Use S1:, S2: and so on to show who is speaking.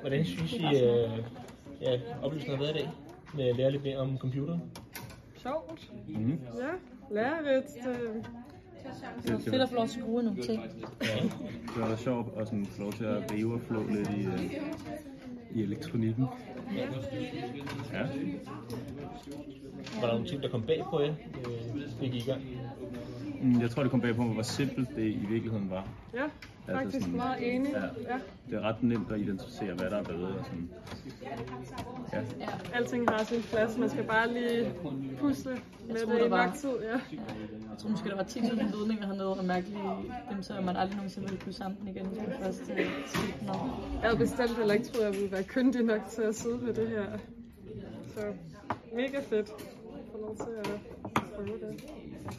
S1: Hvordan synes I, øh, ja, oplevelsen har været i dag? Med at lære lidt mere om computer?
S2: Sjovt.
S3: Mm.
S2: Ja, lærerigt. øh,
S3: Det, det,
S4: Fedt
S3: var,
S4: at få lov til at bruge nogle ting.
S3: det var da sjovt at sådan, få lov til at væve og flå lidt i, øh, i elektronikken. Ja.
S1: Var der nogle ting, der kom bag på jer, øh, fik I i gang?
S3: Mm, Jeg tror, det kom bag på mig, hvor simpelt det i virkeligheden var.
S2: Ja, faktisk
S3: sådan-
S2: meget enig.
S3: Ja.
S2: Ja,
S3: Det er ret nemt at identificere, hvad der er bedre. Og sådan. Ja.
S2: alting har sin plads. Man skal bare lige pusle med
S4: tror,
S2: det i
S4: der var-
S2: nok tid. Ja.
S4: Jeg tror måske, der var 10.000 ledninger hernede, og mærkelige dem, så man aldrig nogensinde ville kunne samle den igen, hvis man først øh, set den over.
S2: Jeg havde bestemt heller ikke troet, at jeg ville være kyndig nok til at sidde med det her. Så mega fedt. Få lov til at prøve det.